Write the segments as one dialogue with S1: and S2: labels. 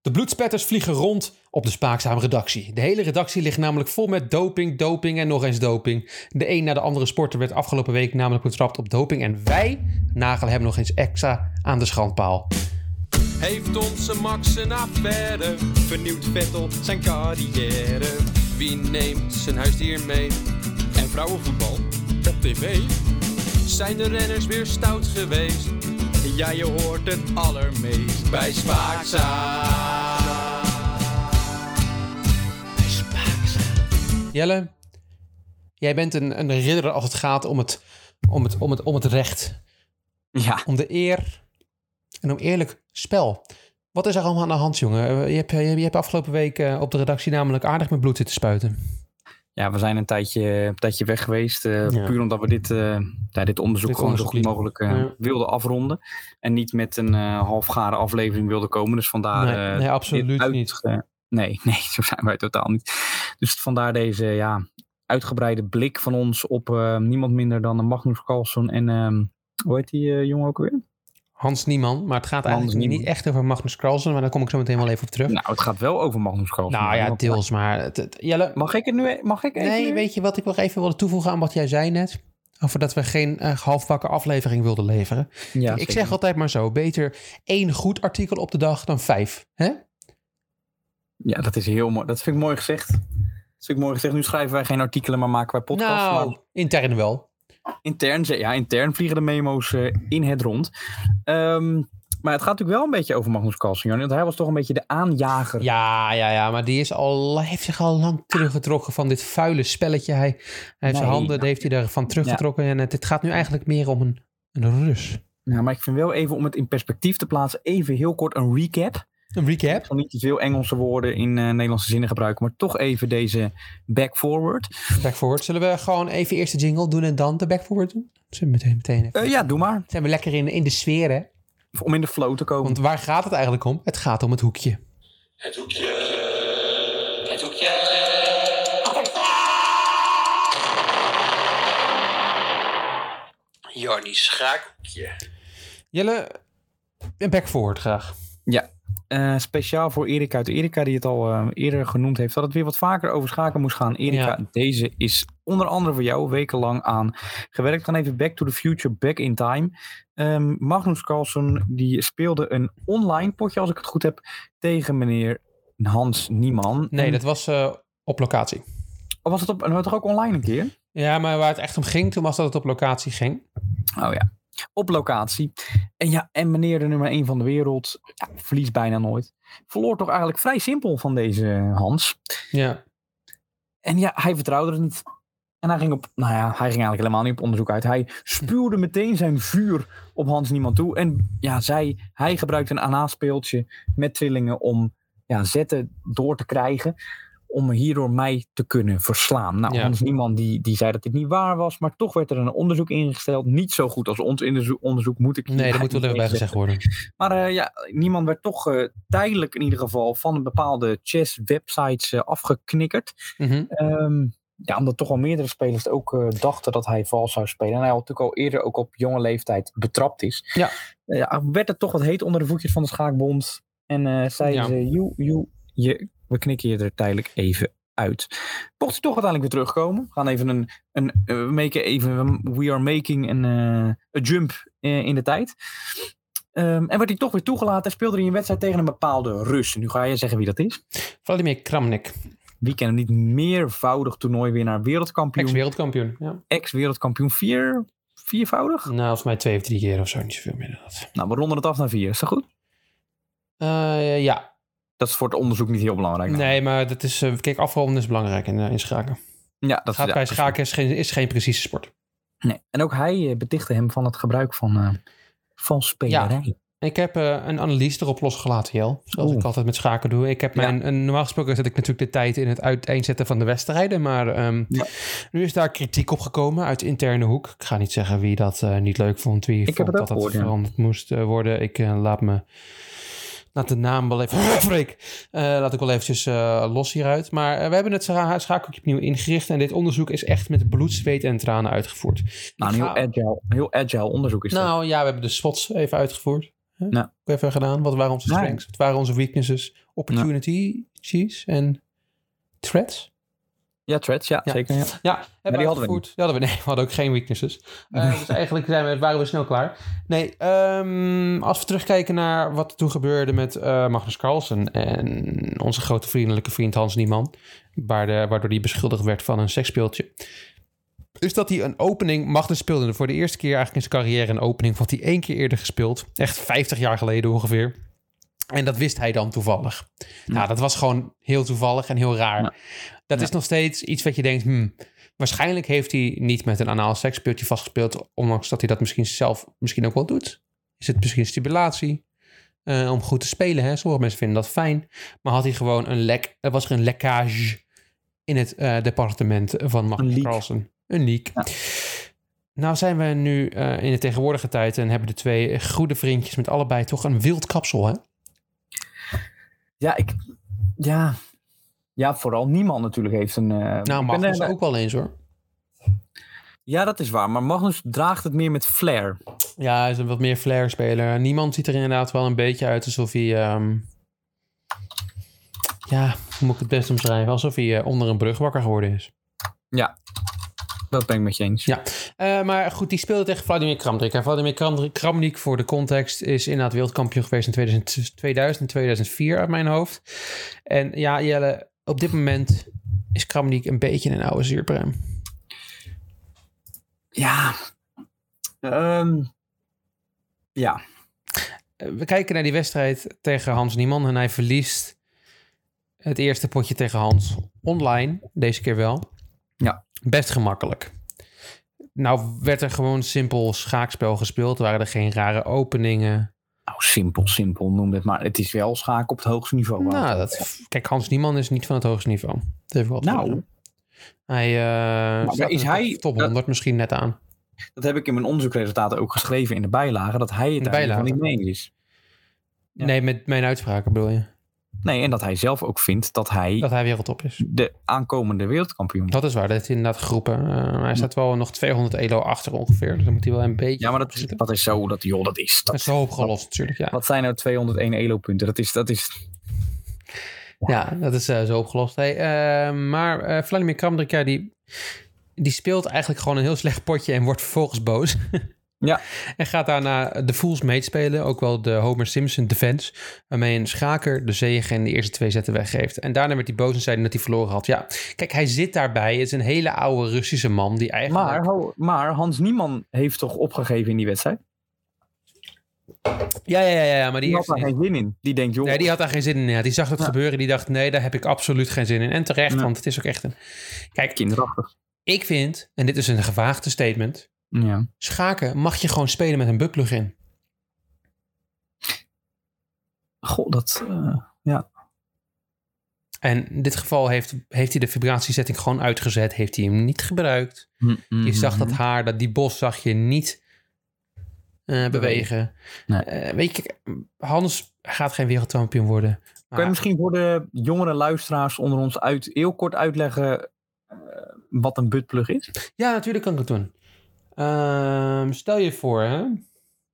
S1: De bloedspetters vliegen rond op de spaakzame redactie. De hele redactie ligt namelijk vol met doping, doping en nog eens doping. De een na de andere sporter werd afgelopen week namelijk betrapt op doping. En wij nagelen hem nog eens extra aan de schandpaal.
S2: Heeft onze Max een affaire? Vernieuwt Vettel zijn carrière? Wie neemt zijn huisdier mee? En vrouwenvoetbal op tv? Zijn de renners weer stout geweest? Ja, je hoort het allermeest bij Spaakzaam.
S1: Jelle, jij bent een, een ridder als het gaat om het, om, het, om, het, om het recht,
S3: Ja,
S1: om de eer en om eerlijk spel. Wat is er allemaal aan de hand, jongen? Eh, Je hebt, je hebt- je hebt afgelopen week eh, op de redactie namelijk aardig met bloed zitten spuiten.
S3: ja we zijn een tijdje, een tijdje weg geweest. eh,
S1: Ja.
S3: Puur omdat we dit, eh, ja, dit onderzoek
S1: Dit
S3: gewoon zo
S1: onderzoek
S3: goed
S1: liep.
S3: mogelijk eh,
S1: Ja.
S3: wilden afronden. En niet met een eh halfgare aflevering wilden komen. Dus vandaar.
S1: nee,
S3: eh,
S1: nee,
S3: dit
S1: absoluut
S3: uit-
S1: niet.
S3: eh, nee, nee, zo zijn wij totaal niet. Dus vandaar deze ja, uitgebreide blik van ons op eh, niemand minder dan Magnus Carlsen en. ehm, hoe heet die eh, jongen ook weer?
S1: Hans Nieman, maar het gaat
S3: Hans
S1: eigenlijk niet
S3: Niemann.
S1: echt over Magnus Carlsen, maar daar kom ik zo meteen wel even op terug.
S3: Nou, het gaat wel over Magnus Carlsen.
S1: nou ja,
S3: Want-
S1: deels, maar het, het- Jelle,
S3: Mag ik het nu? e- Mag ik even?
S1: nee,
S3: nu?
S1: weet je wat ik nog even wilde toevoegen aan wat jij zei net? Over dat we geen eh, halfwakken aflevering wilden leveren.
S3: Ja,
S1: ik
S3: zeker.
S1: zeg altijd maar zo, beter één goed artikel op de dag dan vijf. Hè?
S3: Ja, dat is heel mooi. Dat vind ik mooi gezegd. Dat vind ik mooi gezegd. Nu schrijven wij geen artikelen, maar maken wij podcasts.
S1: nou,
S3: Maar
S1: intern wel.
S3: intern, ze- ja, intern vliegen de memo's eh, in het rond. Ehm, maar het gaat natuurlijk wel een beetje over Magnus Carlsen, Jan. Want hij was toch een beetje de aanjager.
S1: Ja, ja, ja, maar die is al, heeft zich al lang teruggetrokken van dit vuile spelletje. Hij, hij heeft zijn
S3: Nee. nou,
S1: handen heeft hij daarvan teruggetrokken. En het, het gaat nu eigenlijk meer om een, een rus.
S3: Nou, maar ik vind wel even, om het in perspectief te plaatsen, even heel kort een recap.
S1: Een recap.
S3: Ik zal niet te veel Engelse woorden in eh, Nederlandse zinnen gebruiken, maar toch even deze back forward.
S1: Back forward. Zullen we gewoon even eerst de jingle doen en dan de back forward doen? Zullen we meteen, meteen even.
S3: Eh, ja, doe maar.
S1: Zijn we lekker in, in de sfeer, hè?
S3: Om in de flow te komen.
S1: Want waar gaat het eigenlijk om? Het gaat om het hoekje.
S4: Het hoekje. Het hoekje. Jarnie Schaakhoekje.
S1: Jelle, een back forward graag.
S3: Eh, speciaal voor Erika uit Erika, die het al eh, eerder genoemd heeft, dat het weer wat vaker over schaken moest gaan. Erika, deze is onder andere voor jou wekenlang aan gewerkt. We gaan even back to the future, back in time. Ehm, Magnus Carlsen, die speelde een online potje, als ik het goed heb, tegen meneer Hans Nieman.
S1: Nee,
S3: En-
S1: dat was eh, op locatie.
S3: Oh, was het op, en was het toch ook online een keer?
S1: Ja, maar waar het echt om ging, toen was dat het op locatie ging.
S3: Oh ja. Op locatie. En ja, en meneer de nummer 1 van de wereld, ja, verliest bijna nooit. Verloor toch eigenlijk vrij simpel van deze eh, Hans.
S1: Ja.
S3: En ja, hij vertrouwde het niet. En hij ging, op, nou ja, hij ging eigenlijk helemaal niet op onderzoek uit. Hij spuwde meteen zijn vuur op Hans Niemand toe. En ja, zij, hij gebruikte een aanspeeltje met trillingen om ja, zetten door te krijgen. Om hierdoor mij te kunnen verslaan. Nou,
S1: Ja.
S3: Hans Niemand die, die zei dat dit niet waar was. Maar toch werd er een onderzoek ingesteld. Niet zo goed als ons onderzoek, onderzoek moet ik
S1: Nee, dat moet wel even bij gezegd worden.
S3: maar eh, ja, niemand werd toch eh, tijdelijk in ieder geval van een bepaalde chess websites eh, afgeknikkerd.
S1: Mhm.
S3: Ehm, ja, omdat toch wel meerdere spelers ook eh, dachten dat hij vals zou spelen. En hij al natuurlijk al eerder ook op jonge leeftijd betrapt is.
S1: Ja.
S3: Eh, ja, werd het toch wat heet onder de voetjes van de schaakbond. En eh zeiden
S1: Ja.
S3: ze, joe, joe, je, we knikken je er tijdelijk even uit. Mocht hij toch uiteindelijk weer terugkomen. We gaan even een, een eh, we maken even, we are making een eh, a jump eh, in de tijd. Ehm, en werd hij toch weer toegelaten en speelde hij een wedstrijd tegen een bepaalde Rus. Nu ga je zeggen wie dat is.
S1: Vladimir Kramnik,
S3: Wie kennen hem niet meervoudig toernooiwinnaar, wereldkampioen
S1: ex-wereldkampioen. Ja.
S3: ex-wereldkampioen. Vier, viervoudig?
S1: Nou, volgens mij twee of drie keer of zo, niet zoveel meer dan dat.
S3: Nou, we ronden het af naar vier. Is dat goed?
S1: Eh, ja,
S3: Dat is voor het onderzoek niet heel belangrijk. nou.
S1: nee, maar dat is, eh, kijk, afronden is belangrijk in, eh, in schaken.
S3: Ja, dat
S1: Gaat
S3: ja,
S1: bij
S3: precies.
S1: schaken is geen, is geen precieze sport.
S3: Nee. En ook hij eh, betichtte hem van het gebruik van eh vals spelerij.
S1: Ik heb eh, een analyse erop losgelaten, Jel. Zoals
S3: Oeh.
S1: ik altijd met schaken doe. Ik heb
S3: Ja.
S1: mijn, een, normaal gesproken zet ik natuurlijk de tijd in het uiteenzetten van de wedstrijden. Maar ehm,
S3: Ja.
S1: nu is daar kritiek op gekomen uit de interne hoek. Ik ga niet zeggen wie dat eh, niet leuk vond. Wie
S3: heb
S1: vond
S3: het ook
S1: dat dat
S3: gehoord, ja.
S1: veranderd moest eh, worden. Ik eh, laat me... Laat de naam wel even... Freek! Eh, laat ik wel eventjes eh, los hieruit. Maar eh, we hebben het scha- schakeltje opnieuw ingericht. En dit onderzoek is echt met bloed, zweet en tranen uitgevoerd.
S3: Nou, een
S1: Ik
S3: heel
S1: ga-
S3: agile, heel agile onderzoek is dat.
S1: nou ja, we hebben de SWOTs even uitgevoerd. Huh?
S3: Ja.
S1: Ook even gedaan. Wat waren onze
S3: Nee.
S1: strengths? Wat waren onze weaknesses? Opportunity, cheese en threats.
S3: Ja, threads, ja,
S1: Ja.
S3: zeker. Ja.
S1: Ja, hebben
S3: die
S1: we
S3: hadden we
S1: uitgevoerd. Ja, hadden we, nee, we hadden ook geen weaknesses. Eh, dus eigenlijk zijn we, waren we snel klaar. Nee, ehm, als we terugkijken naar wat er toen gebeurde met eh, Magnus Carlsen en onze grote vriendelijke vriend Hans Nieman, waar de, waardoor hij beschuldigd werd van een seksspeeltje. Is dat hij een opening, Magnus speelde voor de eerste keer eigenlijk in zijn carrière een opening, wat hij één keer eerder gespeeld, echt 50 jaar geleden ongeveer. En dat wist hij dan toevallig. Nou, dat was gewoon heel toevallig en heel raar.
S3: Ja.
S1: Dat
S3: Ja.
S1: is nog steeds iets wat je denkt, hmm, Waarschijnlijk heeft hij niet met een anaal seksspeeltje vastgespeeld, ondanks dat hij dat misschien zelf misschien ook wel doet. Is het misschien stimulatie eh, om goed te spelen? Hè? Sommige mensen vinden dat fijn. Maar had hij gewoon een lek, er was er een lekkage in het eh, departement van
S3: Een
S1: Magnus
S3: leak.
S1: Carlsen. Een leak. Nou zijn we nu eh, in de tegenwoordige tijd en hebben de twee goede vriendjes met allebei toch een wild kapsel, hè?
S3: Ja, ik, ja. ja, vooral niemand natuurlijk heeft een... eh,
S1: Nou,
S3: ik ben er-
S1: Magnus ook wel eens, hoor.
S3: Ja, dat is waar. Maar Magnus draagt het meer met flair.
S1: Ja, hij is een wat meer flair-speler. Niemand ziet er inderdaad wel een beetje uit alsof hij... ehm, Ja, hoe moet ik het best omschrijven? Alsof hij eh, onder een brug wakker geworden is.
S3: Dat ben ik met je eens.
S1: Ja. Eh, maar goed, die speelde tegen Vladimir Kramnik. En Vladimir Kram- Kramnik, voor de context, is inderdaad wereldkampioen geweest in 2000, 2000 en 2004 uit mijn hoofd. En ja, Jelle, op dit moment is Kramnik een beetje een oude zuurpruim.
S3: Ja. Ehm, ja.
S1: Eh, we kijken naar die wedstrijd tegen Hans Nieman en hij verliest het eerste potje tegen Hans online, deze keer wel.
S3: Ja.
S1: Best gemakkelijk. Nou werd er gewoon simpel schaakspel gespeeld, waren er geen rare openingen.
S3: Nou, simpel, simpel noem het maar. Het is wel schaak op het hoogste niveau.
S1: nou,
S3: Wouter.
S1: dat, kijk, Hans Nieman is niet van het hoogste niveau. Dat heeft wel te
S3: nou
S1: zeggen. hij eh
S3: maar
S1: staat
S3: is
S1: in de top-
S3: hij-
S1: top
S3: dat-
S1: 100 misschien net aan.
S3: dat heb ik in mijn onderzoekresultaten ook geschreven in de bijlagen. Dat hij het
S1: De
S3: eigenlijk
S1: bijlagen.
S3: niet mee eens is. Ja.
S1: Nee, met mijn uitspraken bedoel je.
S3: Nee, en dat hij zelf ook vindt dat hij
S1: Dat hij wereldtop is.
S3: de aankomende wereldkampioen is.
S1: Dat is waar, dat heeft hij inderdaad geroepen. Eh, hij staat wel nog 200 elo achter ongeveer, dus dan moet hij wel een beetje...
S3: Ja, maar dat is,
S1: zitten.
S3: dat is zo. Dat, joh, dat is.
S1: Dat
S3: Dat,
S1: is zo opgelost natuurlijk, ja.
S3: wat zijn nou 201 elo-punten? Dat is, dat is.
S1: Ja, dat is eh, zo opgelost. Hey, eh, maar eh, Vladimir Kramdrik, ja, die, die speelt eigenlijk gewoon een heel slecht potje en wordt vervolgens boos.
S3: Ja.
S1: En gaat daarna de Fools Mate spelen, ook wel de Homer Simpson Defense, waarmee een schaker de zege in de eerste twee zetten weggeeft. En daarna werd hij boos en zei hij dat hij verloren had. Ja, kijk, hij zit daarbij. Het is een hele oude Russische man die eigenlijk...
S3: Maar, ho- maar Hans Nieman heeft toch opgegeven in die wedstrijd?
S1: Ja, ja, ja, ja, ja, maar die
S3: Die had
S1: eerste...
S3: daar geen zin in. Die denkt, joh.
S1: Nee, die had daar geen zin in. Ja, die zag dat
S3: Ja.
S1: gebeuren. Die dacht, nee, daar heb ik absoluut geen zin in. En terecht,
S3: Ja.
S1: want het is ook echt een... Kijk,
S3: Kinderachtig.
S1: ik vind, en dit is een gewaagde statement,
S3: Ja.
S1: Schaken mag je gewoon spelen met een buttplug in.
S3: Goh, dat. eh,
S1: En in dit geval heeft, heeft hij de vibratiezetting gewoon uitgezet. Heeft hij hem niet gebruikt.
S3: Mhm.
S1: Je zag dat haar, dat die bos zag je niet eh, bewegen.
S3: Nee.
S1: Eh, weet je, kijk, Hans gaat geen wereldkampioen worden.
S3: Kan je
S1: Maar
S3: misschien voor de jongere luisteraars onder ons uit, heel kort uitleggen eh, wat een buttplug is?
S1: ja, natuurlijk kan ik het doen. Ehm, stel je voor, hè?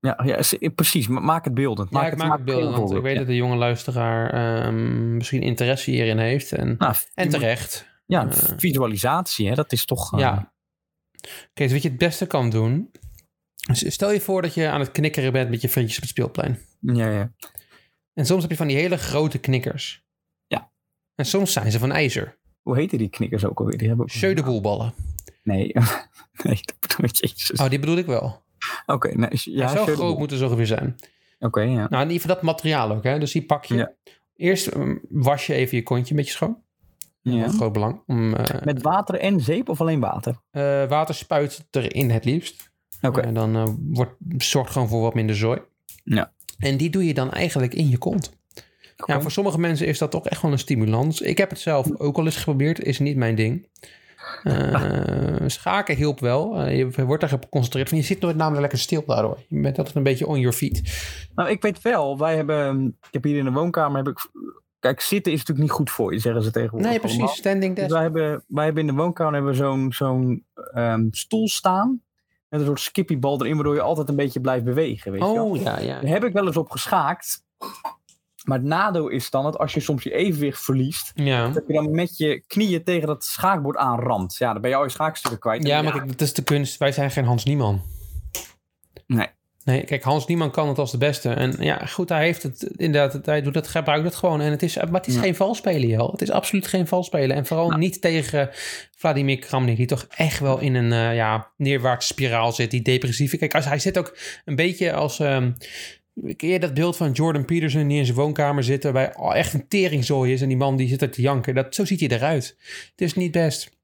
S3: Ja, ja is- eh, precies. Ma- Maak het beeldend.
S1: Ja, ik maak het beelden, want ik
S3: voorbeeld,
S1: weet
S3: ja.
S1: dat de jonge luisteraar ehm, misschien interesse hierin heeft. En,
S3: Nou,
S1: en terecht.
S3: Ja,
S1: eh,
S3: visualisatie, hè, dat is toch... eh,
S1: Ja. Oké, dus wat je het beste kan doen. is Stel je voor dat je aan het knikkeren bent met je vriendjes op het speelplein.
S3: ja, ja.
S1: En soms heb je van die hele grote knikkers.
S3: Ja.
S1: En soms zijn ze van ijzer.
S3: Hoe heette die knikkers ook alweer? Die hebben ook...
S1: Pseudoboelballen.
S3: Nee, nee, dat bedoel ik jezus.
S1: Oh, die bedoel ik wel.
S3: Oké, nee, ja,
S1: Zo
S3: Schöderboel.
S1: groot moeten ze ongeveer zijn.
S3: Oké, ja.
S1: Nou, in ieder geval dat materiaal ook. Hè? Dus die pak je.
S3: Ja.
S1: Eerst mm, was je even je kontje een beetje schoon.
S3: ja.
S1: Van groot belang. Om, eh,
S3: Met water en zeep of alleen water?
S1: eh, water spuit erin het liefst.
S3: Oké.
S1: En dan eh, wordt, zorgt gewoon voor wat minder zooi.
S3: Ja.
S1: En die doe je dan eigenlijk in je kont.
S3: Oké.
S1: Ja, voor sommige mensen is dat toch echt wel een stimulans. Ik heb het zelf ook al eens geprobeerd, is niet mijn ding. Eh, schaken hielp wel. Eh, je wordt daar geconcentreerd van. Je zit nooit namelijk lekker stil daardoor. Je bent altijd een beetje on your feet.
S3: Nou, ik weet wel, wij hebben... Ik heb hier in de woonkamer... Heb ik, kijk, zitten is natuurlijk niet goed voor je, zeggen ze tegenwoordig.
S1: Nee, precies.
S3: allemaal.
S1: Standing
S3: Dus
S1: desk.
S3: wij hebben, wij hebben in de woonkamer hebben we zo'n zo'n ehm, stoel staan. met een soort skippiebal erin, waardoor je altijd een beetje blijft bewegen. Weet je wel?
S1: Oh ja, ja.
S3: Daar heb ik wel eens op geschaakt. Maar het nadeel is dan dat als je soms je evenwicht verliest,
S1: Ja,
S3: dat je dan met je knieën tegen dat schaakbord aanramt. Ja, dan ben je al je schaakstukken kwijt. En
S1: ja maar kijk, dat is de kunst. Wij zijn geen Hans Nieman.
S3: Nee.
S1: Nee, kijk, Hans Nieman kan het als de beste. En ja, goed, hij heeft het inderdaad. Hij doet dat, gebruikt dat gewoon. En het is, maar het is
S3: Ja.
S1: geen valspelen, joh. Het is absoluut geen valspelen. En vooral
S3: Nou.
S1: niet tegen Vladimir Kramnik, die toch echt wel in een eh, ja, neerwaartse spiraal zit. Die depressieve. Kijk, als, hij zit ook een beetje als. ehm Ken je dat beeld van Jordan Peterson die in zijn woonkamer zit, waarbij al echt een teringzooi is en die man die zit er te janken. Dat, zo ziet hij eruit. Het is niet best.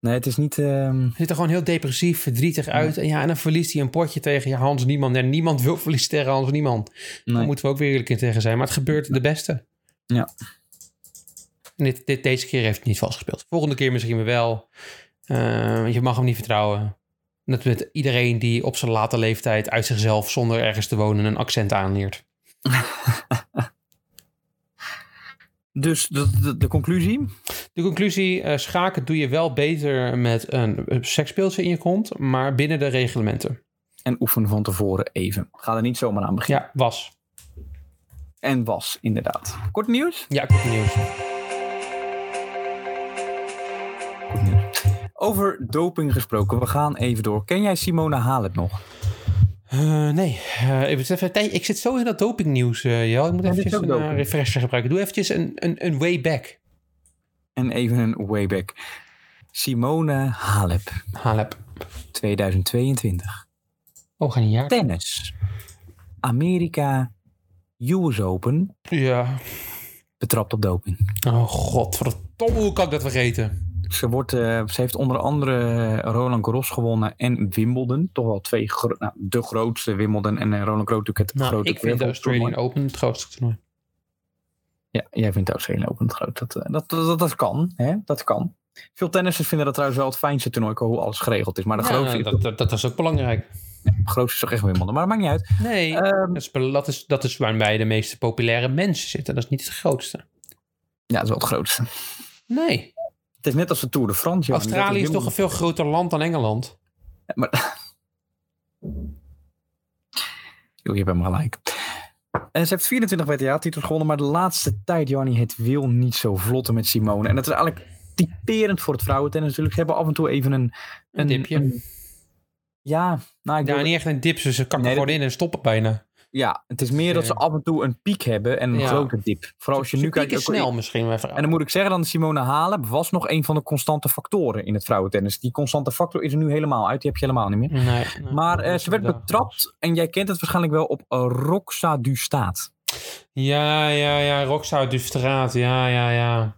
S3: Nee, het is niet. ehm,
S1: Hij ziet er gewoon heel depressief, verdrietig uit. En ja, en dan verliest hij een potje tegen ja, Hans Niemand. En niemand wil verliezen tegen Hans Niemand. Daar
S3: nee.
S1: moeten we ook weer eerlijk in tegen zijn. Maar het gebeurt de beste.
S3: Ja.
S1: En Dit, dit, deze keer heeft hij niet vastgespeeld. Volgende keer misschien weer wel. Eh, je mag hem niet vertrouwen. Dat met iedereen die op zijn late leeftijd uit zichzelf zonder ergens te wonen een accent aanleert.
S3: Dus de, de, de conclusie?
S1: De conclusie, eh, schaken doe je wel beter met een eh, sekspeeltje in je kont, maar binnen de reglementen.
S3: En oefen van tevoren even. Ga er niet zomaar aan beginnen.
S1: Ja, was.
S3: En was, inderdaad. Kort nieuws?
S1: Ja, kort nieuws.
S3: Kort nieuws. Over doping gesproken, we gaan even door. Ken jij Simone Halep nog?
S1: Eh, nee, Eh, ik, moet even, tijd- ik zit zo in dat dopingnieuws, eh Jel. Ik moet
S3: Ja, dit is
S1: eventjes een
S3: ook
S1: eh,
S3: doping.
S1: refresher gebruiken. Doe eventjes een, een, een way back,
S3: En even een wayback. Simone Halep,
S1: Halep.
S3: 2022.
S1: Oh, we gaan een jaar.
S3: Tennis. Amerika, US Open,
S1: Ja.
S3: betrapt op doping.
S1: Oh god, verdomme, hoe kan ik dat vergeten?
S3: Ze, wordt, eh, ze heeft onder andere eh, Roland Garros gewonnen en Wimbledon. Toch wel twee, gro- nou, de grootste Wimbledon en eh, Roland Garros natuurlijk het
S1: Nou,
S3: grote.
S1: ik vind de
S3: gravel
S1: Australian
S3: toernooi.
S1: Open het grootste toernooi.
S3: Ja, jij vindt de Australian Open het groot. Dat, eh, dat, dat, dat, dat kan, hè? dat kan. Veel tennissers vinden dat trouwens wel het fijnste toernooi, hoe alles geregeld is. Maar de
S1: Ja,
S3: grootste, is-
S1: dat, dat, dat is ook belangrijk.
S3: de grootste is toch echt Wimbledon. Maar dat maakt niet uit.
S1: Nee,
S3: Ehm,
S1: dat, is, bel- dat, is, dat is waarbij de meeste populaire mensen zitten. Dat is niet het grootste.
S3: Ja, dat is wel het grootste.
S1: Nee,
S3: Het is net als de Tour de France. Johan. Dat
S1: Australië is toch een
S3: Wimbledon.
S1: veel groter land dan Engeland.
S3: Maar... Joh, je hebt hem gelijk. En ze heeft 24 WTA-titels gewonnen, maar de laatste tijd, Jannie, het wil niet zo vlotten met Simone. En dat is eigenlijk typerend voor het vrouwentennis natuurlijk. Ze hebben af en toe even een...
S1: Een dipje.
S3: een- ja, nou, ik
S1: Ja,
S3: wil-
S1: niet echt een dip, dus ze kakken
S3: Nee, dat-
S1: gewoon in en stoppen bijna.
S3: ja, het is meer dat ze af en toe een piek hebben en een
S1: Ja.
S3: grote dip. Vooral als je
S1: Ze
S3: nu kijkt...
S1: pieken
S3: ook-
S1: snel misschien, mijn vrouw.
S3: En dan moet ik zeggen, dan Simone Halep was nog een van de constante factoren in het vrouwentennis. Die constante factor is er nu helemaal uit, die heb je helemaal niet meer.
S1: Nee, nee.
S3: Maar eh,
S1: Dat
S3: ze werd
S1: is inderdaad-
S3: betrapt, en jij kent het waarschijnlijk wel, op eh, Roxa du Staat.
S1: Ja, ja, ja. Roxa uit de straat. Ja, ja, ja.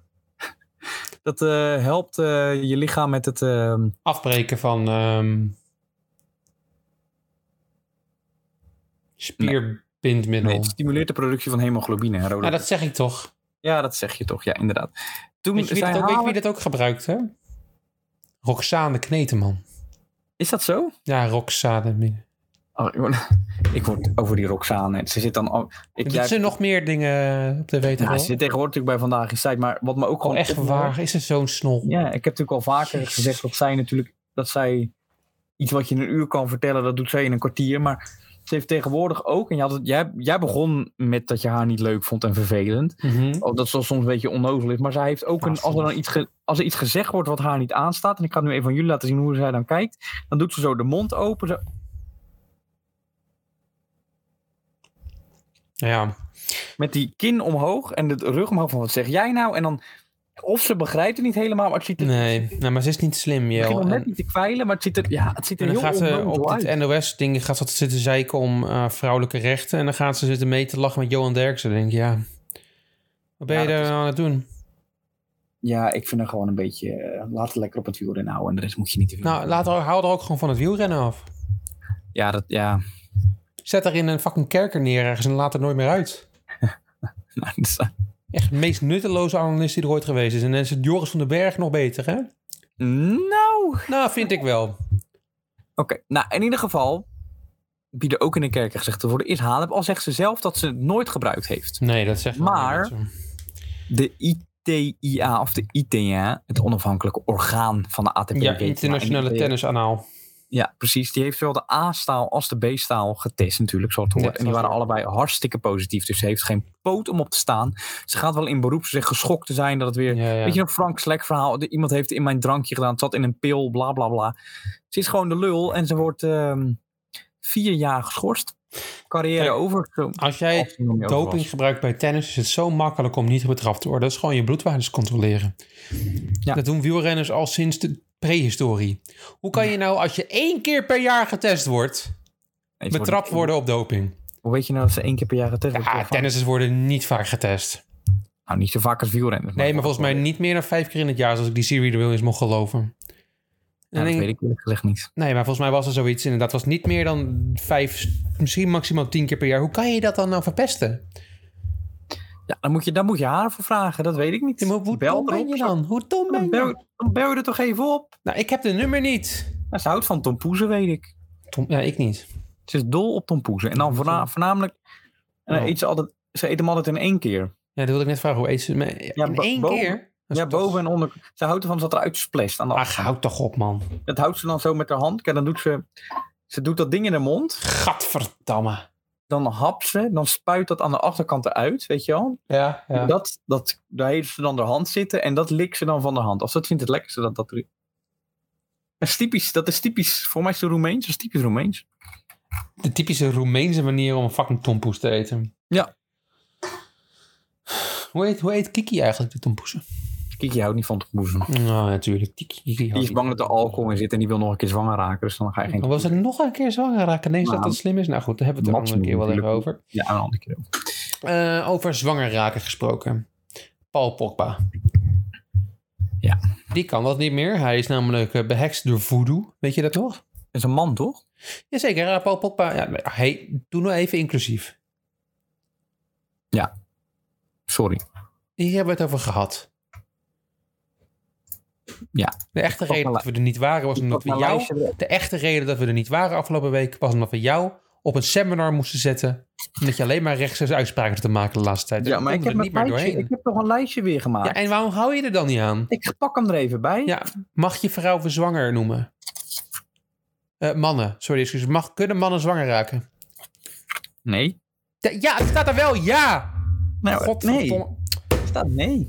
S3: Dat eh, helpt eh, je lichaam met het... ehm,
S1: Afbreken van... ehm, spierbindmiddel.
S3: nee, het stimuleert de productie van hemoglobine. Hè, Roland?
S1: Nou, dat zeg ik toch.
S3: Ja, dat zeg je toch. Ja, inderdaad. Toen
S1: Weet je wie
S3: zei
S1: dat ook, weet je
S3: Halep-
S1: wie dat ook gebruikt, hè? Roxane Kneteman.
S3: Is dat zo?
S1: Ja, Roxane.
S3: Oh, ik, word, ik word over die Roxane. Ze zit dan... al- ik,
S1: Doet
S3: jij-
S1: ze nog meer dingen eh, op de
S3: Ja, ze
S1: wetenschap?
S3: zit tegenwoordig natuurlijk bij Vandaag in Tijd, maar wat me ook
S1: Gewoon
S3: gewoon...
S1: echt waar. Is ze zo'n snol?
S3: Ja, ik heb natuurlijk al vaker
S1: Jezus.
S3: gezegd dat zij natuurlijk... Dat zij iets wat je in een uur kan vertellen, dat doet zij in een kwartier. Maar ze heeft tegenwoordig ook... En je had het, jij, jij begon met dat je haar niet leuk vond en vervelend.
S1: Mhm.
S3: Of dat ze soms een beetje onnozel is. Maar zij heeft ook
S1: Ah,
S3: een... Als er, dan
S1: soms.
S3: iets ge- als er iets gezegd wordt wat haar niet aanstaat... En ik ga nu even aan jullie laten zien hoe zij dan kijkt. Dan doet ze zo de mond open. zo-
S1: Ja.
S3: met die kin omhoog en de rug omhoog van wat zeg jij nou? En dan... Of ze begrijpt het niet helemaal, maar het ziet er...
S1: Nee, nou, maar ze is niet slim,
S3: Ik begin
S1: Jel.
S3: nog
S1: En-
S3: net niet te kwijlen, maar het ziet er, ja, het ziet er
S1: En dan
S3: heel
S1: gaat ze
S3: onnozel
S1: op
S3: uit.
S1: het NOS-ding gaat ze zitten zeiken om eh, vrouwelijke rechten. En dan gaat ze zitten mee te lachen met Johan Derksen. Dan denk ik, ja, wat ben
S3: Ja,
S1: je
S3: dat
S1: daar
S3: is-
S1: nou aan het doen?
S3: Ja, ik vind er gewoon een beetje. eh, laat het lekker op het wielrennen houden. En de rest moet je niet te veel.
S1: Nou, laat haar, haal er ook gewoon van het wielrennen af.
S3: ja, dat, ja.
S1: Zet haar in een fucking kerker neer ergens en laat er nooit meer uit.
S3: Nou, dat is-
S1: Echt de meest nutteloze analist die er ooit geweest is. En dan is het Joris van den Berg nog beter, hè?
S3: nou. Oké,
S1: Nou, vind ik wel.
S3: nou in ieder geval. Wie er ook in de kerker gezegd te worden is Halep. Al zegt ze zelf dat ze het nooit gebruikt heeft.
S1: Nee, dat zegt helemaal niks,
S3: Maar-
S1: hoor.
S3: De ITIA of de ITA, het onafhankelijke orgaan van de
S1: Ja,
S3: ATP. weet je, maar in
S1: internationale
S3: ITA
S1: tennisanaal.
S3: Ja, precies. Die heeft zowel de A-staal als de B-staal getest natuurlijk, zoals het hoort.
S1: Ja,
S3: en die waren
S1: zoals
S3: allebei hartstikke positief. Dus ze heeft geen poot om op te staan. Ze gaat wel in beroep. Ze zegt geschokt te zijn dat het weer...
S1: Ja, ja.
S3: Weet je, een Frank Slek verhaal. De- Iemand heeft in mijn drankje gedaan. Het zat in een pil, bla bla bla. Ze is gewoon de lul en ze wordt ehm, vier jaar geschorst. Carrière
S1: Kijk,
S3: over.
S1: Als jij doping gebruikt bij tennis, is het zo makkelijk om niet betrapt te worden. Dat is gewoon je bloedwaardes controleren.
S3: Ja.
S1: Dat doen wielrenners al sinds de prehistorie. Hoe kan je nou, als je één keer per jaar getest wordt, betrapt worden op doping?
S3: Hoe weet je nou dat ze één keer per jaar getest wordt?
S1: Ja, tennissers worden niet vaak getest.
S3: Nou, niet zo vaak als wielrenners.
S1: Nee, maar volgens mij niet meer dan vijf keer in het jaar, zoals ik die Siri de Williams mocht geloven. En dan
S3: Nou, dat
S1: denk ik-
S3: weet ik eerlijk gezegd niet.
S1: Nee, maar volgens mij was er zoiets inderdaad. Het was niet meer dan vijf, misschien maximaal tien keer per jaar. Hoe kan je dat dan nou verpesten?
S3: Ja, dan moet je, daar moet je haar voor vragen. Dat weet ik niet.
S1: Ja, maar hoe dom ben je dan? Hoe dom ben
S3: Dan
S1: je dan?
S3: bel, dan bel je er toch even op?
S1: Nou, ik heb de nummer niet.
S3: Nou, ze houdt van Tom Poezen, weet ik.
S1: Tom, ja, ik niet.
S3: Ze is dol op Tom Poezen. En dan voorna- voornamelijk... en dan
S1: Oh.
S3: eet ze, altijd, ze eet hem altijd in één keer.
S1: Ja, dat wilde ik net vragen. Hoe eet ze? Maar in
S3: bo-
S1: één
S3: boven-
S1: keer? Dat is
S3: Ja,
S1: toch-
S3: boven en onder. Ze houdt ervan dat eruit splest. Aan de
S1: Ach, houd toch op, man.
S3: Dat houdt ze dan zo met haar hand. Kijk, dan doet ze... Ze doet dat ding in haar mond.
S1: Gadverdamme.
S3: Dan hapt ze. Dan spuit dat aan de achterkant eruit, weet je wel.
S1: Ja, ja.
S3: Dat, dat, daar heeft ze dan haar hand zitten en dat likt ze dan van de hand. Of dat vindt het lekkerste dat dat doet. Dat is typisch, dat is typisch. Voor mij is het Roemeens, dat is typisch Roemeens.
S1: De typische Roemeense manier om een fucking tompoes te eten.
S3: Ja.
S1: Hoe heet, hoe heet Kiki eigenlijk, de tompoesen?
S3: Kiki houdt niet van te boezen.
S1: Nou, natuurlijk. Kiki, Kiki
S3: Die is bang dat er alcohol in zit en die wil nog een keer zwanger raken. Dus dan ga je geen...
S1: Maar was het nog een keer zwanger raken? Ineens dat
S3: Nou,
S1: dat slim is? Nou goed, daar hebben we het een andere
S3: maximum
S1: keer wel even over.
S3: natuurlijk. Ja, een andere keer.
S1: Eh, over zwanger raken gesproken. Paul Pogba.
S3: Ja.
S1: Die kan dat niet meer. Hij is namelijk eh, behekst door voodoo. Weet je dat nog?
S3: Dat is een man, toch?
S1: Jazeker, eh, Paul Pogba. Ja, maar, hey, doe nou even inclusief.
S3: Sorry.
S1: Hier hebben we het over gehad.
S3: Ja.
S1: De echte
S3: Pak
S1: reden
S3: maar
S1: dat we er niet waren was omdat we
S3: Maar
S1: jou...
S3: luister,
S1: De echte reden dat we er niet waren afgelopen week was omdat we jou op een seminar moesten zetten. Omdat je alleen maar rechtstreeks uitspraken te maken de laatste tijd.
S3: Ja, maar
S1: Daar
S3: ik heb,
S1: konden we
S3: mijn lijstje, ik heb toch een lijstje weer gemaakt.
S1: Ja, en waarom hou je er dan niet aan?
S3: Ik pak hem er even bij.
S1: Ja, mag je vrouw voor zwanger noemen? Eh, mannen, sorry, excuus. Mag, kunnen mannen zwanger raken?
S3: Nee.
S1: Ja, Ja, het staat er wel, ja!
S3: Nou, nee.
S1: Godverdomme.
S3: er Staat nee.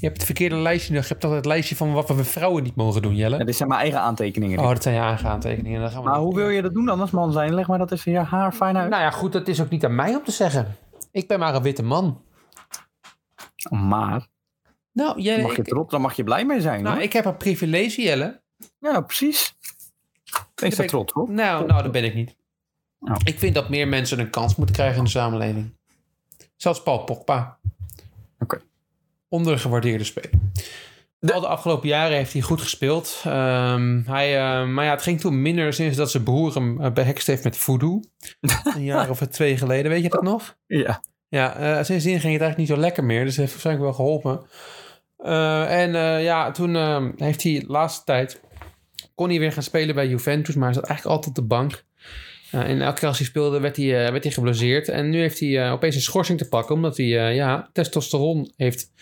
S1: Je hebt het verkeerde lijstje nog. Je hebt toch het lijstje van wat we voor vrouwen niet mogen doen, Jelle?
S3: Ja, dit zijn mijn eigen aantekeningen.
S1: Oh, dat zijn je aantekeningen. Dan gaan we
S3: maar
S1: niet
S3: hoe
S1: doen.
S3: wil je dat doen dan als man zijn? Leg maar dat even je haar fijn uit.
S1: Nou ja, goed, dat is ook niet aan mij om te zeggen. Ik ben maar een witte man.
S3: Maar...
S1: Nou, Jelle,
S3: mag je
S1: ik,
S3: trots, dan mag je blij mee zijn.
S1: nou,
S3: hoor.
S1: ik heb een privilege, Jelle.
S3: ja, precies. Wees
S1: ben
S3: daar
S1: ik-
S3: trots op.
S1: Nou, nou, dat ben ik niet.
S3: Nou.
S1: Ik vind dat meer mensen een kans moeten krijgen in de samenleving. Zelfs Paul Pogba.
S3: Oké.
S1: Ondergewaardeerde speler. Al de afgelopen jaren heeft hij goed gespeeld. Ehm, hij, eh, maar ja, het ging toen minder sinds dat zijn broer hem eh, behekst heeft met voodoo. een jaar of twee geleden, weet je dat nog?
S3: Ja.
S1: Ja, eh, sindsdien ging het eigenlijk niet zo lekker meer. Dus dat heeft waarschijnlijk wel geholpen. Eh, en eh, ja, toen eh, heeft hij de laatste tijd... kon hij weer gaan spelen bij Juventus... maar hij zat eigenlijk altijd op de bank. Eh, en elke keer als hij speelde werd hij, eh, werd hij geblesseerd. En nu heeft hij eh, opeens een schorsing te pakken... omdat hij eh, ja, testosteron heeft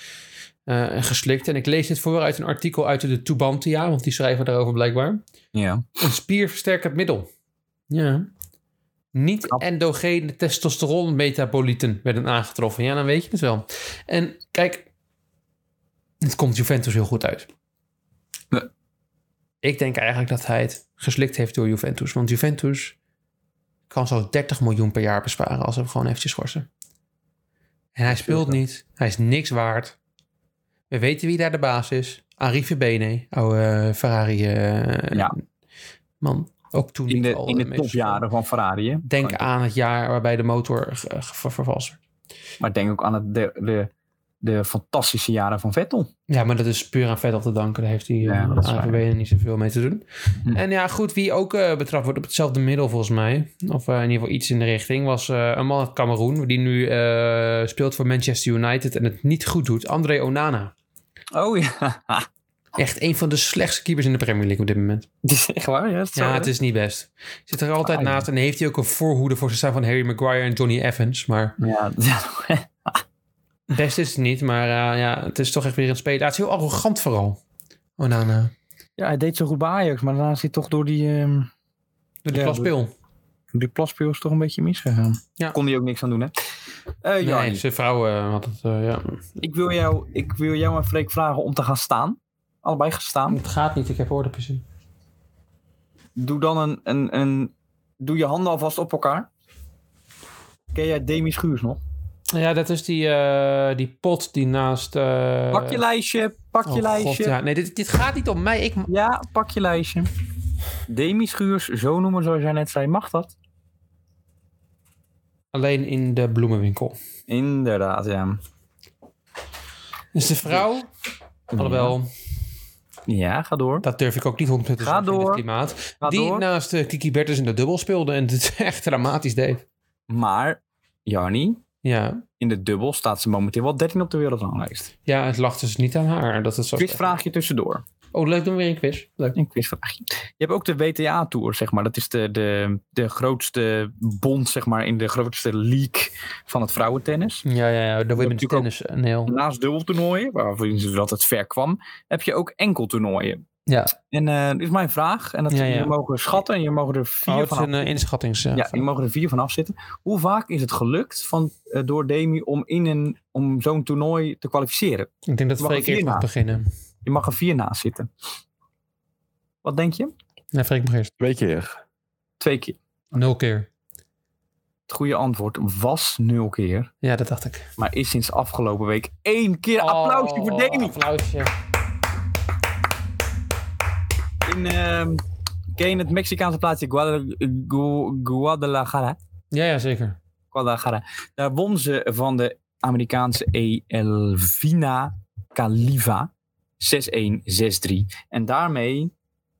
S1: eh, geslikt. En ik lees dit voor uit een artikel uit de Tubantia... want die schrijven daarover blijkbaar.
S3: ja.
S1: Een spierversterkend middel. Ja. Niet
S3: Knap.
S1: endogene testosteronmetabolieten werden aangetroffen. Ja, dan weet je het wel. En kijk, het komt Juventus heel goed uit.
S3: Nee.
S1: Ik denk eigenlijk dat hij het geslikt heeft door Juventus. Want Juventus kan zo 30 miljoen per jaar besparen als we hem gewoon eventjes schorsen. En hij speelt niet. Hij is niks waard. We weten wie daar de baas is. Arrive Bene, oude Ferrari eh,
S3: Ja.
S1: man. Ook toen
S3: In
S1: niet
S3: de,
S1: al
S3: in de
S1: meest-
S3: topjaren van Ferrari. hè.
S1: Denk
S3: Maar-
S1: aan het jaar waarbij de motor ge- ge- vervalst werd.
S3: Maar denk ook aan het, de, de, de fantastische jaren van Vettel.
S1: Ja, maar dat is puur aan Vettel te danken. Daar heeft hij
S3: Ja,
S1: ja,
S3: dat is
S1: AVB
S3: waar.
S1: niet zoveel mee te doen.
S3: Hm.
S1: En ja, goed, wie ook eh, betrapt wordt op hetzelfde middel volgens mij, of eh, in ieder geval iets in de richting, was eh, een man uit Cameroen die nu eh, speelt voor Manchester United en het niet goed doet. André Onana.
S3: Oh ja.
S1: Echt een van de slechtste keepers in de Premier League op dit moment.
S3: Het is echt waar. Ja, het is zo,
S1: Ja,
S3: hè?
S1: het is niet best. Zit er altijd
S3: Ah, ja.
S1: naast en heeft hij ook een voorhoede voor zijn staan van Harry Maguire en Johnny Evans. Maar
S3: Ja, ja.
S1: best is het niet. Maar eh, ja, het is toch echt weer een speler. Ja, het is heel arrogant vooral. Onana.
S3: Ja, hij deed zo goed bij Ajax, maar daarna is hij toch door die, ehm
S1: Door die
S3: Ja,
S1: plaspil.
S3: door die plaspils toch een beetje misgegaan.
S1: Ja.
S3: Kon hij ook niks aan doen, hè? Eh Jarnie,
S1: Nee, zijn vrouw eh, had het, eh, ja.
S3: ik, wil jou, ik wil jou en Freek vragen om te gaan staan. Allebei gaan staan.
S1: Ah, Het gaat niet, ik heb oordopjes in.
S3: Doe dan een, een, een... Doe je handen alvast op elkaar. Ken jij Demi Schuurs nog?
S1: Ja, dat is die, eh, die pot die naast... eh,
S3: Pak je lijstje, pak je
S1: Oh, God,
S3: lijstje.
S1: ja. Nee, dit, dit gaat niet om mij. Ik,
S3: Ja, pak je lijstje. Demi Schuurs, zo noemen zoals jij net zei, mag dat?
S1: alleen in de bloemenwinkel.
S3: Inderdaad, ja.
S1: Dus de vrouw... Alhoewel,
S3: Ja, ga door.
S1: dat durf ik ook niet 100% te
S3: Ga
S1: zeggen in
S3: door.
S1: het klimaat.
S3: Ga
S1: die
S3: door.
S1: naast eh, Kiki Bertens in de dubbel speelde en het echt dramatisch deed.
S3: Maar, Jarni,
S1: Ja,
S3: in de dubbel staat ze momenteel wel 13 op de wereldranglijst.
S1: ja het lag dus niet aan haar. Dat het zo
S3: Quizvraagje tussendoor.
S1: Oh, leuk, doen we weer een quiz. Leuk.
S3: Een quizvraagje. Je hebt ook de WTA-tour, zeg maar. Dat is de, de, de grootste bond, zeg maar, in de grootste league van het vrouwentennis.
S1: Ja, ja, ja. De women's
S3: natuurlijk
S1: tennis. eh, Nee, hoor.
S3: Naast dubbeltoernooien, waarvan ze dat het ver kwam, heb je ook enkeltoernooien.
S1: ja.
S3: En eh dit is mijn vraag, en dat
S1: Ja,
S3: je
S1: ja.
S3: mogen schatten en je mogen er vier
S1: Oh, het
S3: van
S1: is een eh, inschattings... eh,
S3: Ja, die mogen er vier van afzitten. Hoe vaak is het gelukt van, eh, door Demi om, in een- om zo'n toernooi te kwalificeren?
S1: ik denk dat
S3: mag
S1: Freek
S3: er vier
S1: eerst mag
S3: na.
S1: beginnen.
S3: Je mag er vier naast zitten. Wat denk je?
S1: Nee, Freek mag eerst.
S5: Twee keer.
S3: Twee keer.
S1: Nul keer.
S3: Het goede antwoord was nul keer,
S1: Ja, dat dacht ik.
S3: maar is sinds afgelopen week één keer. Applausje voor
S1: Oh,
S3: Demi.
S1: Applausje.
S3: In, ehm, ken je het Mexicaanse plaatsje Guadal- Gu- Guadalajara?
S1: Ja, ja, zeker.
S3: Guadalajara. Daar won ze van de Amerikaanse Elvina Khalifa 6-1, 6-3. En daarmee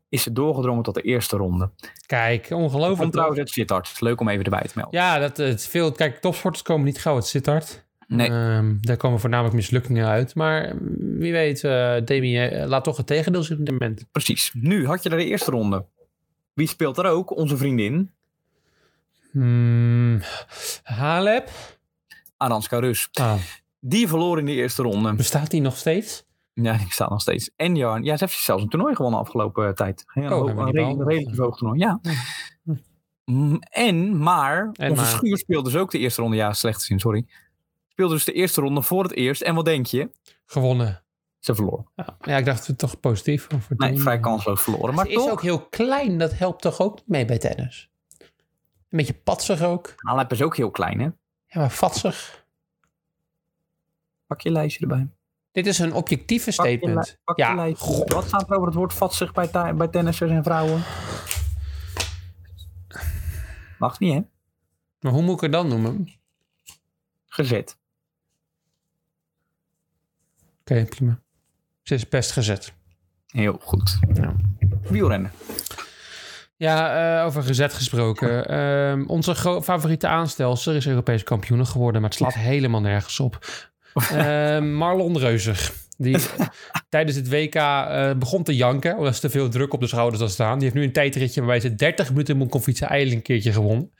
S3: is ze doorgedrongen tot de eerste ronde.
S1: Kijk,
S3: Van
S1: ongelooflijk.
S3: trouwens het Sittard. Leuk om even erbij te melden.
S1: Ja, dat, het is veel, kijk, topsporters komen niet gauw uit Sittard.
S3: Nee.
S1: Ehm, daar komen voornamelijk mislukkingen uit. Maar mm, wie weet, eh Demi eh, laat toch het tegendeel zien op dit moment.
S3: Precies. Nu had je er de eerste ronde. Wie speelt er ook? Onze vriendin
S1: Hmm, Halep?
S3: Aranska Rus.
S1: Ah,
S3: Die verloor in de eerste ronde.
S1: bestaat die nog steeds?
S3: Ja, die staat nog steeds. En Jan, ja, ze heeft zelfs een toernooi gewonnen afgelopen eh, tijd. Heel
S1: hebben Oh, we
S3: hoog-
S1: niet
S3: een redelijk,
S1: behandeld.
S3: redelijk hoog toernooi, ja.
S1: Hm.
S3: Mm, En, maar,
S1: En
S3: onze
S1: maar.
S3: schuur speelde dus ook de eerste ronde. Ja, slecht gezien, sorry. Speelde dus de eerste ronde voor het eerst. En wat denk je?
S1: Gewonnen.
S3: Ze verloor.
S1: Ja, ja, ik dacht het toch positief. Voor voor
S3: Nee,
S1: Demi.
S3: vrij kansloos verloren. Maar
S1: Ze is
S3: toch,
S1: ook heel klein, dat helpt toch ook niet mee bij tennis? Een beetje patsig ook.
S3: Halep is ook heel klein, hè?
S1: Ja, maar vatsig.
S3: Pak je lijstje erbij.
S1: Dit is een objectieve
S3: Pak je li-
S1: statement.
S3: Pak je
S1: Ja,
S3: lijstje.
S1: god.
S3: Wat staat er over het woord vatsig bij, ta- bij tennissers en vrouwen? Mag niet, hè?
S1: Maar hoe moet ik het dan noemen? Oké,
S3: Gezet.
S1: prima. Ze is best gezet.
S3: Heel goed.
S1: Ja.
S3: Wielrennen.
S1: Ja, eh, over gezet gesproken. Ehm, onze gro- favoriete aanstelster is Europees kampioen geworden, maar het slaat helemaal nergens op. Ehm, Marlon Reuzig. Die tijdens het WK eh, begon te janken, omdat ze te veel druk op de schouders had staan. Die heeft nu een tijdritje waarbij ze 30 minuten moet fietsen eilen een keertje gewonnen.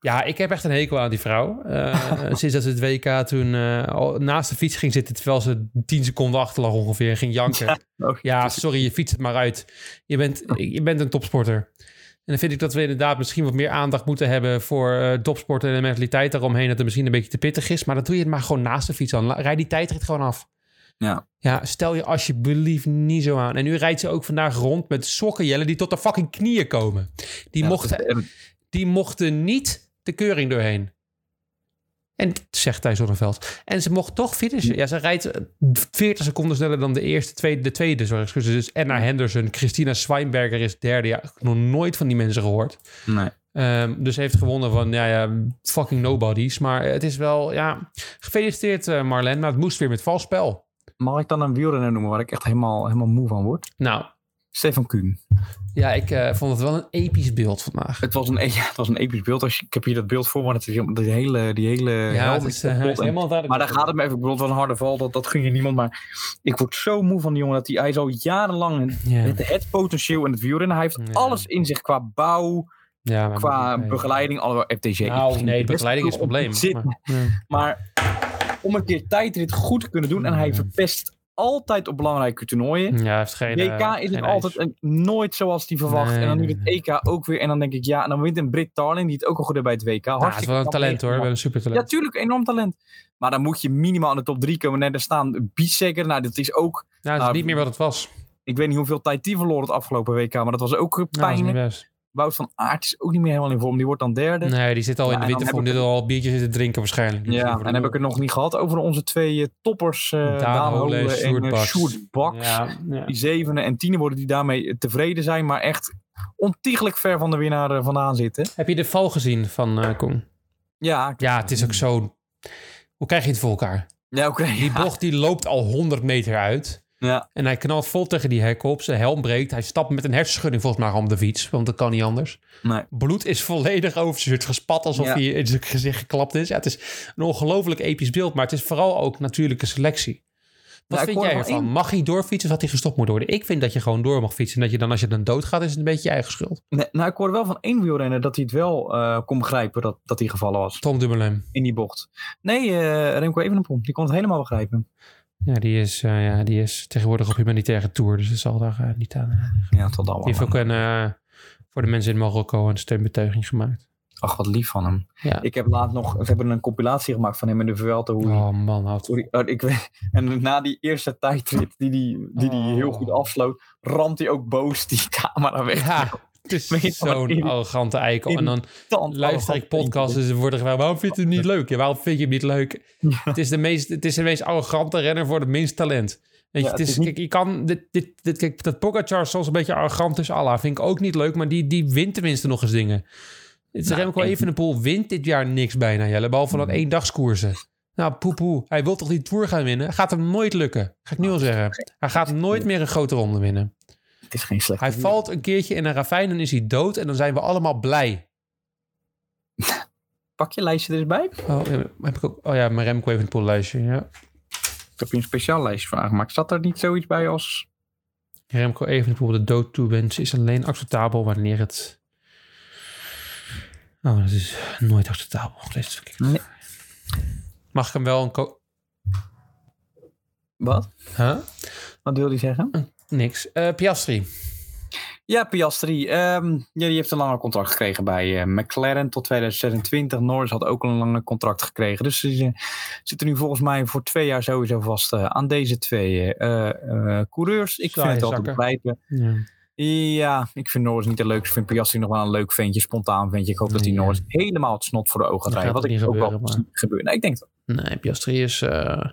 S1: ja, ik heb echt een hekel aan die vrouw. Eh, sinds dat ze het WK toen eh, al naast de fiets ging zitten, terwijl ze 10 seconden achter lag ongeveer, en ging janken.
S3: Oh,
S1: Ja, sorry, je fietst het maar uit. Je bent, je bent een topsporter. En dan vind ik dat we inderdaad misschien wat meer aandacht moeten hebben voor eh, topsporten en de mentaliteit daaromheen. Dat het misschien een beetje te pittig is. Maar dat doe je het maar gewoon naast de fiets aan. La- Rijd die tijdrit gewoon af.
S3: Ja.
S1: Ja, stel je alsjeblieft niet zo aan. En nu rijdt ze ook vandaag rond met sokkenjellen die tot de fucking knieën komen. Die,
S3: Ja,
S1: mochten,
S3: dat is-
S1: die mochten niet de keuring doorheen. En dat zegt Thijs Zonneveld. En ze mocht toch finishen. Ja, ze rijdt eh, 40 seconden sneller dan de eerste, tweede, de tweede. Sorry, excuses. Dus Anna Henderson, Christina Schweinberger is derde. Ja, ik heb nog nooit van die mensen gehoord.
S3: Nee.
S1: Ehm, dus heeft gewonnen van, ja, ja, fucking nobodies. Maar het is wel, ja, gefeliciteerd eh Marlen. Maar het moest weer met vals spel.
S3: Mag ik dan een wielrenner noemen waar ik echt helemaal, helemaal moe van word?
S1: Nou,
S3: Stefan Kuhn.
S1: ja, ik eh, vond het wel een episch beeld vandaag.
S3: Het was een, e- ja, het was een episch beeld. Als je, ik heb hier dat beeld voor me. maar Het is helemaal- die hele, die hele
S1: ja,
S3: helm
S1: het
S3: is
S1: is, eh, hij
S3: kapot.
S1: is
S3: En-
S1: helemaal duidelijk.
S3: maar daar gaat het me even. Ik bedoel, het was een harde val. Dat, dat ging je niemand. Maar ik word zo moe van die jongen. Dat hij, hij is al jarenlang
S1: Ja,
S3: het, het potentieel in het wielrennen. Hij heeft
S1: Ja.
S3: alles in zich qua bouw,
S1: ja, maar-
S3: qua
S1: nee.
S3: begeleiding. Alhoewel FTG. is
S1: Nou,
S3: misschien
S1: nee,
S3: de beste
S1: begeleiding is het
S3: ploeg om
S1: probleem.
S3: te zitten.
S1: Maar, ja.
S3: Maar om een keer tijdrit goed te kunnen doen. En hij
S1: Ja.
S3: verpest altijd op belangrijke toernooien.
S1: Ja, hij heeft geen...
S3: WK
S1: eh,
S3: is
S1: geen
S3: het altijd een, nooit zoals die verwacht.
S1: Nee,
S3: en dan nu
S1: nee,
S3: het EK ook weer. En dan denk ik, ja, en dan wint een Brit Darling, die het ook al goed deed bij het
S1: Nou,
S3: WK.
S1: hij is
S3: Hartstikke
S1: wel een
S3: knap
S1: talent hoor, wel
S3: meegemaakt.
S1: een super
S3: Ja,
S1: talent.
S3: tuurlijk, enorm talent. Maar dan moet je minimaal in de top 3 komen. Nee, daar staan Biessekker. Nou, dat is ook.
S1: Nou, het is
S3: Ah,
S1: niet meer wat het was.
S3: Ik weet niet hoeveel tijd die verloor het afgelopen WK. Maar dat was ook
S1: Nou, dat is
S3: pijnlijk.
S1: niet best.
S3: Wout van Aert is ook niet meer helemaal in vorm. Die wordt dan derde.
S1: Nee, die zit al
S3: Ja,
S1: in de
S3: Nou, en dan
S1: winter
S3: heb
S1: voor
S3: ik
S1: nu al biertjes zitten drinken waarschijnlijk. Dus
S3: Ja, en
S1: over de
S3: dan heb ik
S1: boel.
S3: het nog niet gehad over onze twee eh, toppers. eh
S1: Daan
S3: Daan
S1: Hole
S3: Hole
S1: en Sjoerd
S3: en eh,
S1: Baks.
S3: Sjoerd Baks.
S1: Ja, ja.
S3: Die zevende en tiende worden die daarmee eh, tevreden zijn. Maar echt ontiegelijk ver van de winnaar eh, vandaan zitten.
S1: Heb je de val gezien van eh Kong?
S3: Ja,
S1: Ja, het is ook zo... Hoe krijg je het voor elkaar?
S3: ja oké.
S1: Die bocht die loopt al 100 meter uit.
S3: Ja.
S1: En hij knalt vol tegen die hek op. Zijn helm breekt. Hij stapt met een hersenschudding volgens mij om de fiets. Want dat kan niet anders.
S3: Nee.
S1: Bloed is volledig over zijn shirt gespat. Alsof
S3: Ja.
S1: hij in zijn gezicht geklapt is. Ja, het is een ongelooflijk episch beeld. Maar het is vooral ook natuurlijke selectie. Wat
S3: Ja, Nou, ik
S1: vind
S3: hoor
S1: jij
S3: er wel
S1: ervan?
S3: één.
S1: Mag hij doorfietsen of had hij gestopt moeten worden? Ik vind dat je gewoon door mag fietsen. En dat je dan als je dan doodgaat is het een beetje je eigen schuld.
S3: Nee, nou, ik hoorde wel van één wielrenner dat hij het wel eh, kon begrijpen dat, dat hij gevallen was
S1: Tom Dumoulin.
S3: in die bocht. Nee, eh Remco Evenepoel, die kon het helemaal begrijpen.
S1: Ja, die is, eh, ja, die is tegenwoordig op humanitaire tour. Dus dat zal daar eh, niet aan.
S3: Ja, tot dan
S1: Die heeft
S3: wel.
S1: ook een, eh, voor de mensen in Marokko een steunbetuiging gemaakt.
S3: Ach, wat lief van hem.
S1: Ja.
S3: Ik heb laat nog, we hebben een compilatie gemaakt van hem in de Vuelta. Hoe hij-
S1: Oh man, houdt
S3: Sorry, oh, ik, weet- en na die eerste tijdrit die die, die, die heel
S1: Oh.
S3: goed afsloot, ramt hij ook boos die camera weg.
S1: Ja, het
S3: Maar je
S1: is
S3: kan het
S1: zo'n
S3: irritant-
S1: arrogante eikel. En dan
S3: Tand-
S1: luister ik dus podcasts en ze worden gevraagd... waarom vind je hem niet leuk? Ja, waarom vind je hem niet leuk?
S3: Ja.
S1: Het, is de meest, het is de meest arrogante renner voor het minst talent. Weet je,
S3: Ja,
S1: het
S3: het
S1: is,
S3: is niet-
S1: kijk, je kan, dit, dit, dit, kijk, dat Pogacar soms een beetje arrogant is, Allah, vind ik ook niet leuk. Maar die, die wint tenminste nog eens dingen. Het is
S3: Nou,
S1: Remco
S3: ik- Hmm.
S1: Evenepoel wint dit jaar niks bijna, Jelle. Behalve dat eendagskoersen. Nou, poepoe. Hij wil toch die Tour gaan winnen? Gaat hem nooit lukken. Ga ik nu al zeggen. Hij gaat nooit meer een grote ronde winnen.
S3: Het is geen slecht.
S1: Hij valt een keertje in een ravijn en is hij dood. En dan zijn we allemaal blij.
S3: Pak je lijstje er eens bij.
S1: Oh, ja, heb ik ook, oh ja, mijn Remco even een poollijstje. Ja.
S3: Ik heb je een speciaal lijstje van aangemaakt. Zat er niet zoiets bij als...
S1: Remco Evenepoel de dood toewensen is alleen acceptabel wanneer het... Oh, dat is nooit acceptabel. Oh, dit is verkeerd.
S3: Nee.
S1: Mag ik hem wel een... ko-
S3: Wat?
S1: Huh?
S3: Wat wil hij zeggen?
S1: Niks. Eh, Piastri.
S3: Ja, Piastri. ehm, ja, die heeft een langer contract gekregen bij eh, McLaren tot 2026. Norris had ook een langer contract gekregen. Dus ze zitten nu volgens mij voor twee jaar sowieso vast eh, aan deze twee eh, eh, coureurs. Ik vind
S1: Saaie
S3: het altijd
S1: zakken.
S3: blijven.
S1: Ja.
S3: Ja, ik vind Norris niet de leukste. Ik vind Piastri nog wel een leuk ventje, spontaan ventje. Ik hoop dat hij
S1: Ja.
S3: Norris helemaal het snot voor de ogen gaat
S1: Dat
S3: rijden.
S1: gaat
S3: Wat ik
S1: niet
S3: ook wel
S1: gebeuren, maar-
S3: zie gebeuren. Nee, ik denk dat.
S1: Nee, Piastri is... eh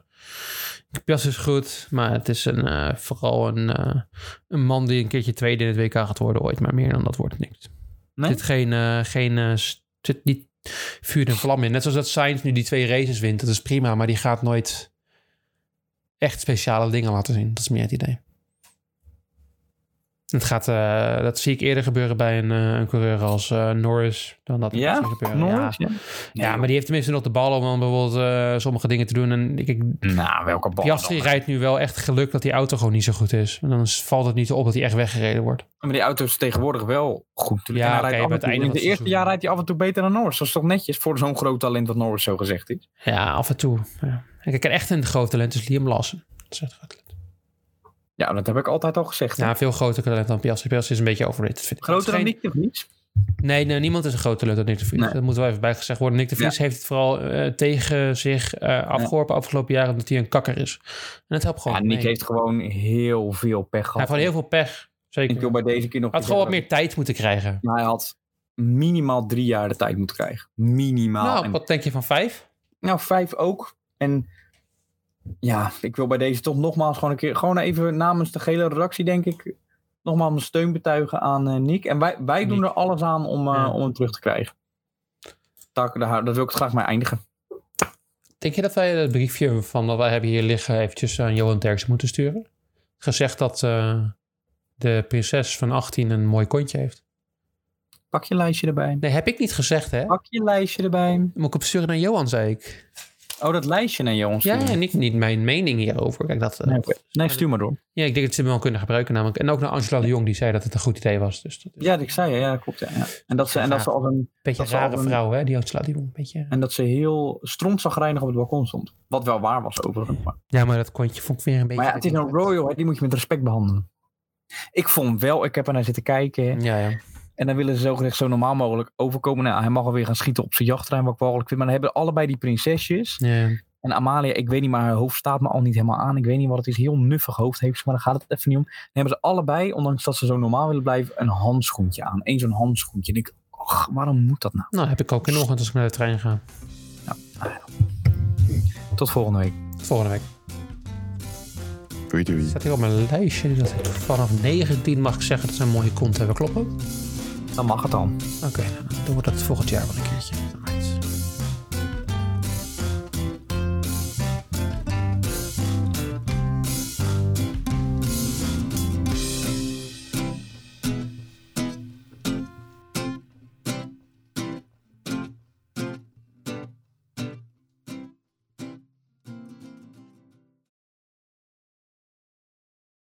S1: Piastri is goed, maar het is een, eh, vooral een, eh, een man die een keertje tweede in het WK gaat worden ooit. Maar meer dan dat wordt het niks.
S3: Nee?
S1: Zit geen, eh, geen eh, s- zit niet vuur en vlam in. Net zoals dat Sainz nu die twee races wint. Dat is prima, maar die gaat nooit echt speciale dingen laten zien. Dat is meer het idee. Het gaat, eh, dat zie ik eerder gebeuren bij een, eh, een coureur als eh, Norris dan dat het
S3: Ja,
S1: gaat gebeuren.
S3: Norris?
S1: ja.
S3: Ja.
S1: Ja, maar die heeft tenminste nog de bal om dan bijvoorbeeld eh, sommige dingen te doen. En ik,
S3: Nou, welke bal.
S1: Piastri
S3: dan?
S1: rijdt nu wel echt geluk dat die auto gewoon niet zo goed is. En dan is- valt het niet op dat hij echt weggereden wordt.
S3: Maar die auto is tegenwoordig wel goed. natuurlijk.
S1: Ja,
S3: En hij
S1: oké,
S3: rijdt
S1: bij
S3: af
S1: het
S3: en toe-
S1: einde
S3: in
S1: van het
S3: het eerste
S1: seizoen.
S3: jaar rijdt hij af en toe beter dan Norris. Dat is toch netjes voor zo'n groot talent wat Norris zo gezegd is.
S1: Ja, af en toe. Ja. En Kijk, en echt een groot talent is Liam Lawson. Dat is echt een groot talent.
S3: Ja, dat heb ik altijd al gezegd. hè.
S1: Ja, veel groter talent dan Piastri. Piastri is een beetje overrated, vind ik.
S3: Groter dan
S1: Geen-
S3: Nick de Vries?
S1: Nee, nee, niemand is een groot talent dan Nick de Vries.
S3: Nee.
S1: Dat moet wel even bijgezegd worden. Nick de Vries heeft het vooral eh, tegen zich eh, afgeworpen afgelopen jaren... omdat hij een kakker is. En dat helpt gewoon.
S3: Ja, Nick
S1: Nee.
S3: heeft gewoon heel veel pech gehad.
S1: Hij heeft gewoon heel veel pech. Zeker.
S3: Ik wil bij deze keer nog...
S1: had gewoon wat meer tijd moeten krijgen.
S3: Maar hij had minimaal drie jaar de tijd moeten krijgen. Minimaal.
S1: nou,
S3: En
S1: wat denk je van vijf?
S3: Nou, vijf ook. En ja, ik wil bij deze toch nogmaals gewoon een keer, gewoon even namens de gele redactie, denk ik, nogmaals mijn steun betuigen aan eh, Nick. En wij, wij doen
S1: Nick.
S3: er alles aan om, eh,
S1: Ja.
S3: om hem terug te krijgen. Daar, daar, daar wil ik het graag mee eindigen.
S1: Denk je dat wij het briefje van dat wij hebben hier liggen... eventjes aan Johan Derksen moeten sturen? Gezegd dat eh, de prinses van 18 een mooi kontje heeft.
S3: Pak je lijstje erbij.
S1: Nee, heb ik niet gezegd, hè?
S3: Pak je lijstje erbij.
S1: Moet ik opsturen naar Johan, zei ik.
S3: Oh, dat lijstje naar Johan.
S1: Ja,
S3: sturen.
S1: ja, niet, niet mijn mening hierover. Kijk, dat, eh,
S3: Nee, oké. nee, stuur maar door.
S1: Ja, ik denk dat ze hem wel kunnen gebruiken namelijk. En ook naar Angela de Jong, die zei dat het een goed idee was. Dus dat is
S3: Ja, ik zei ja, ja klopt. Ja, ja. En dat ze, en dat ze al een
S1: een beetje
S3: dat
S1: een
S3: zal
S1: rare
S3: een-
S1: vrouw, hè, die Angela de Jong. Een beetje...
S3: En dat ze heel strontzagrijnig op het balkon stond. Wat wel waar was overigens. Maar,
S1: Ja, maar dat kontje vond ik weer een beetje...
S3: maar ja, het is nou Royal, hè, die moet je met respect behandelen. Ik vond wel, ik heb er naar zitten kijken. hè.
S1: Ja, ja.
S3: En dan willen ze zo gezegd zo normaal mogelijk overkomen. Nou, hij mag alweer gaan schieten op zijn jachttrein, wat ik wel vind. Maar dan hebben allebei die prinsesjes.
S1: ja.
S3: En Amalia, ik weet niet, maar haar hoofd staat me al niet helemaal aan. Ik weet niet wat het is. Heel nuffig hoofd heeft ze, maar daar gaat het even niet om. Dan hebben ze allebei, ondanks dat ze zo normaal willen blijven, een handschoentje aan. Eén zo'n handschoentje. En ik, ach, waarom moet dat nou?
S1: Nou, heb ik ook in de ochtend als ik naar de trein ga.
S3: Tot volgende week.
S1: Tot volgende week.
S5: Doei doei.
S1: Staat hier op mijn lijstje. Dat ik vanaf 19 mag ik zeggen dat ze een mooie kont hebben. Kloppen?
S3: Dan mag het dan.
S1: Oké, dan doen we dat volgend jaar wel een keertje.